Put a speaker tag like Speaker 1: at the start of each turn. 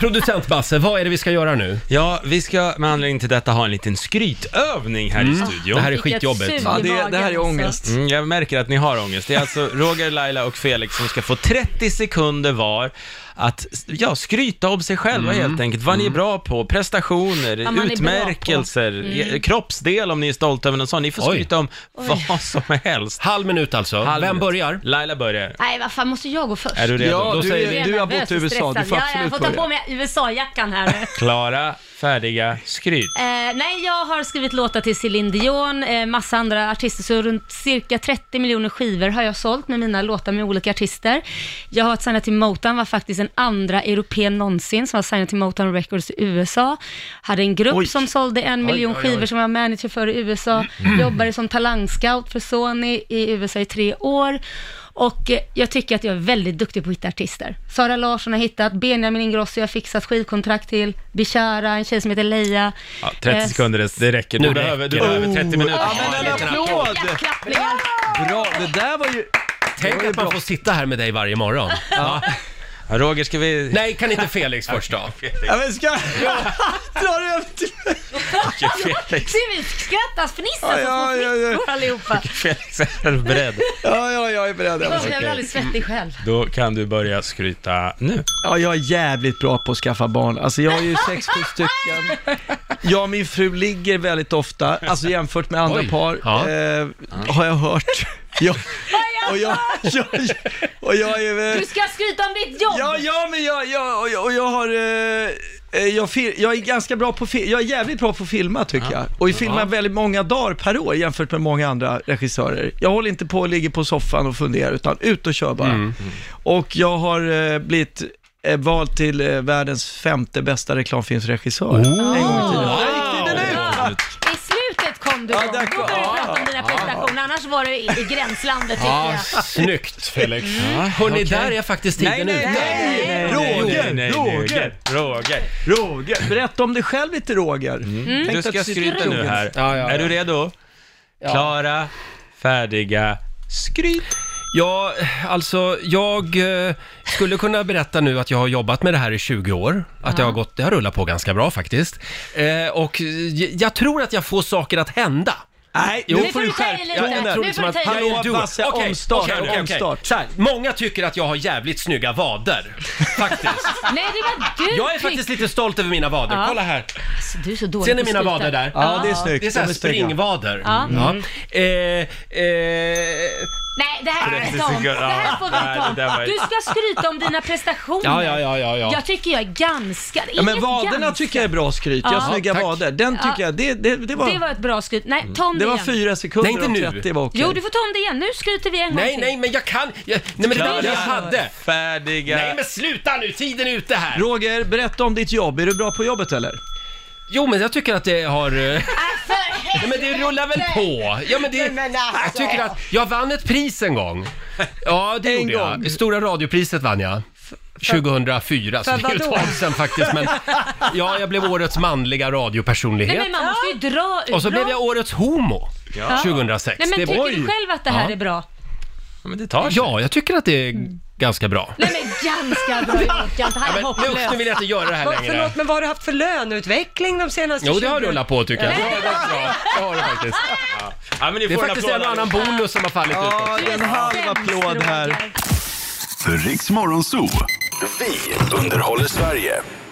Speaker 1: Producent Basse, vad är det vi ska göra nu?
Speaker 2: Ja, vi ska med anledning till detta ha en liten skrytövning här i studion.
Speaker 1: Mm. Det här är
Speaker 3: Vilket
Speaker 1: skitjobbigt.
Speaker 3: sug.
Speaker 1: Va?
Speaker 3: i
Speaker 4: det, det här är
Speaker 3: magen,
Speaker 4: ångest.
Speaker 3: alltså.
Speaker 2: Mm, jag märker att ni har ångest. Det är alltså Roger, Laila och Felix som ska få 30 sekunder var att ja, skryta om sig själva
Speaker 1: Mm.
Speaker 2: helt enkelt. Vad ni är bra på, prestationer,
Speaker 3: man är bra
Speaker 2: utmärkelser, eh, kroppsdel om ni är stolta över någon sån. Ni får
Speaker 1: Mm. Oj.
Speaker 2: skryta om vad som helst.
Speaker 1: Halv minut alltså.
Speaker 2: Halv
Speaker 1: Vem
Speaker 2: minut.
Speaker 1: börjar?
Speaker 2: Laila börjar.
Speaker 3: Nej, vad fan, måste jag gå först?
Speaker 2: Är du redo?
Speaker 4: Ja,
Speaker 1: Då
Speaker 4: du,
Speaker 1: säger
Speaker 4: är,
Speaker 3: Jag
Speaker 4: du har
Speaker 3: nervös
Speaker 4: bott i
Speaker 3: och
Speaker 4: USA, du
Speaker 3: stressad.
Speaker 4: får
Speaker 3: ja, ja, Jag
Speaker 4: absolut
Speaker 3: får ta på
Speaker 4: börja.
Speaker 3: mig USA-jackan här nu.
Speaker 2: Klara, färdiga, skryt.
Speaker 3: Eh, nej, jag har skrivit låtar till Céline Dion, eh, massa andra artister, så runt cirka 30 miljoner skivor har jag sålt med mina låtar med olika artister. Jag har varit signad till Motown, var faktiskt den andra europeen någonsin som var signad till Motown Records i USA. Hade en grupp
Speaker 4: Oj.
Speaker 3: som sålde en miljon
Speaker 1: oj, oj.
Speaker 3: skivor som jag var manager för i USA. Jobbade som talangscout för Sony i USA i tre år. Och eh, jag tycker att jag är väldigt duktig på att hitta artister. Sara Larsson har hittat, Benjamin Ingrosso jag har fixat skivkontrakt till, Bishara, en tjej som heter Leia.
Speaker 2: Ja, 30
Speaker 3: Eh,
Speaker 2: sekunder, det- det räcker.
Speaker 1: Nu
Speaker 2: Du behöver, du
Speaker 1: räcker Oh, det.
Speaker 2: behöver 30 minuter.
Speaker 4: Ja, men en applåd!
Speaker 3: Klappningar.
Speaker 4: Bra, det där var ju...
Speaker 1: Tänk att man får sitta här med dig varje morgon. Oh.
Speaker 2: Ja, Roger, ska vi...
Speaker 1: Nej, kan inte Felix först då?
Speaker 4: Ja, men ska... Dra det upp till...
Speaker 2: Felix,
Speaker 3: Se, vi skrattas, fnissas
Speaker 4: Ja, ja, ja, ja.
Speaker 3: och får allihopa.
Speaker 2: Felix är du beredd.
Speaker 4: Ja, ja, jag är beredd.
Speaker 3: Jag
Speaker 4: Alltså.
Speaker 3: blir aldrig svettig själv.
Speaker 2: Då kan du börja skryta nu.
Speaker 4: Ja, jag är jävligt bra på att skaffa barn. Alltså jag har ju sex, sju stycken. Jag och min fru ligger väldigt ofta, alltså jämfört med andra
Speaker 1: Oj.
Speaker 4: par,
Speaker 1: Ja.
Speaker 4: eh, har jag hört. Jag, och, jag, jag, och jag är... eh,
Speaker 3: Du ska skryta om ditt jobb!
Speaker 4: Ja, ja, men jag, jag, och jag, och jag har... eh, eh, Jag, fil, jag är ganska bra på fi- jag är jävligt bra på att filma tycker jag. Och jag filmar väldigt många dagar per år jämfört med många andra regissörer. Jag håller inte på och ligger på soffan och funderar, utan ut och kör bara. Och jag har eh, blivit eh, vald till eh, världens femte bästa reklamfilmsregissör. En gång i tiden. Där gick tiden ut!
Speaker 3: Ja. I slutet kom du
Speaker 4: Ja,
Speaker 3: igång. Då
Speaker 4: där
Speaker 3: började du
Speaker 4: kom-
Speaker 3: prata om dina prestationer, annars var du i, i gränslandet tycker jag.
Speaker 1: Snyggt Felix. Mm. Hörni, där är faktiskt
Speaker 2: Nej,
Speaker 1: tiden
Speaker 2: nej,
Speaker 1: ute.
Speaker 2: nej, nej, nej,
Speaker 4: Roger,
Speaker 2: nej, nej,
Speaker 4: Roger.
Speaker 2: Roger.
Speaker 4: Roger, berätta om dig själv lite Roger. Tänkte
Speaker 2: Du
Speaker 4: att
Speaker 2: ska
Speaker 4: sitter
Speaker 2: skryta nu
Speaker 4: Roger.
Speaker 2: här.
Speaker 1: Ja, ja, ja.
Speaker 2: Är du redo? Klara, färdiga, skryt.
Speaker 1: Ja, alltså jag eh, skulle kunna berätta nu att jag har jobbat med det här i 20 år. Att det, har gått, det har rullat på ganska bra faktiskt. Eh, och j- jag tror att jag får saker att hända.
Speaker 4: Nej,
Speaker 1: Jo.
Speaker 3: Nu får du ta i lite.
Speaker 1: Jag tror
Speaker 3: Nu får
Speaker 1: liksom
Speaker 3: du
Speaker 1: att-
Speaker 3: ta i lite.
Speaker 4: Hallå Basse,
Speaker 1: Okej,
Speaker 4: omstart,
Speaker 1: okej, okej, okej.
Speaker 4: omstart.
Speaker 1: Så här, många tycker att jag har jävligt snygga vader. Faktiskt.
Speaker 3: Nej, det var du
Speaker 1: Jag är
Speaker 3: tyck-
Speaker 1: faktiskt lite stolt över mina vader.
Speaker 3: Ja.
Speaker 1: Kolla här.
Speaker 3: Du är så dålig
Speaker 1: Ser ni
Speaker 3: på
Speaker 1: mina
Speaker 3: skryta.
Speaker 1: vader där?
Speaker 4: Ja, det är
Speaker 1: Det är
Speaker 4: snyggt.
Speaker 1: så här
Speaker 4: De är snygga.
Speaker 1: springvader.
Speaker 3: Ja.
Speaker 1: Ja. Eh, eh,
Speaker 3: Nej, det här får vi
Speaker 2: 30
Speaker 3: ta om. Det
Speaker 2: sekunder.
Speaker 3: här får
Speaker 2: Ja, det
Speaker 3: vi
Speaker 2: där
Speaker 3: ta
Speaker 2: var
Speaker 3: om.
Speaker 2: ju-
Speaker 3: Du ska skryta om dina prestationer.
Speaker 1: ja, ja, ja, ja, ja.
Speaker 3: Jag tycker jag är ganska...
Speaker 4: Ja, men
Speaker 3: inget
Speaker 4: vaderna
Speaker 3: ganska.
Speaker 4: tycker jag är bra skryt. Jag har
Speaker 1: Ja,
Speaker 4: snygga
Speaker 1: tack.
Speaker 4: vader. Den tycker
Speaker 3: Ja.
Speaker 4: jag, det, det, det var...
Speaker 3: Det var ett bra skryt. Nej, ta om
Speaker 4: Det var
Speaker 3: igen.
Speaker 4: fyra sekunder
Speaker 1: Nej,
Speaker 4: Nej,
Speaker 1: inte
Speaker 4: och
Speaker 1: nu.
Speaker 4: 30 var okej.
Speaker 3: Jo, du får ta om det igen. Nu skryter vi en gång
Speaker 1: Nej,
Speaker 3: till.
Speaker 1: nej, men jag kan... Jag, nej, men det var det jag hade.
Speaker 2: Färdiga.
Speaker 1: Nej, men sluta nu! Tiden är ute här!
Speaker 4: Roger, berätta om ditt jobb. Är du bra på jobbet eller?
Speaker 1: Jo, men jag tycker att det har... eh,
Speaker 3: För Alltså, helvete! alltså.
Speaker 1: Nej, men det rullar väl på? Ja, men det, jag tycker att... Jag vann ett pris en gång. Ja, det
Speaker 4: En
Speaker 1: gjorde jag.
Speaker 4: gång.
Speaker 1: Stora radiopriset vann jag. 2004, så det är ju ett
Speaker 3: vadå?
Speaker 1: tag sedan faktiskt. Men, ja, jag blev årets manliga
Speaker 3: Nej,
Speaker 1: radiopersonlighet.
Speaker 3: men man måste ju dra ut.
Speaker 1: Och så
Speaker 3: dra.
Speaker 1: blev jag årets homo 2006.
Speaker 3: Nej, men
Speaker 1: det
Speaker 3: tycker
Speaker 1: var
Speaker 3: du
Speaker 1: ju...
Speaker 3: själv att det här är bra? Mm.
Speaker 2: Ja, Men det tar sig.
Speaker 1: Ja, jag tycker att det är ganska bra.
Speaker 3: Nej, men ganska bra gjort. Jag inte, han är
Speaker 1: Men nu,
Speaker 3: hopplös.
Speaker 1: nu vill jag inte göra det här
Speaker 5: Vad,
Speaker 1: längre.
Speaker 5: förlåt, men vad har du haft för löneutveckling de senaste
Speaker 1: Jo, det har
Speaker 5: 20
Speaker 1: rullat på tycker jag. Det har varit bra. Det har det faktiskt.
Speaker 2: Ja, men ni
Speaker 1: Det är
Speaker 2: får
Speaker 1: faktiskt en och annan
Speaker 2: applåd.
Speaker 1: bonus som har fallit ut också.
Speaker 4: Ja, det är en halv applåd här.
Speaker 6: Riks Morgonzoo. Vi underhåller Sverige.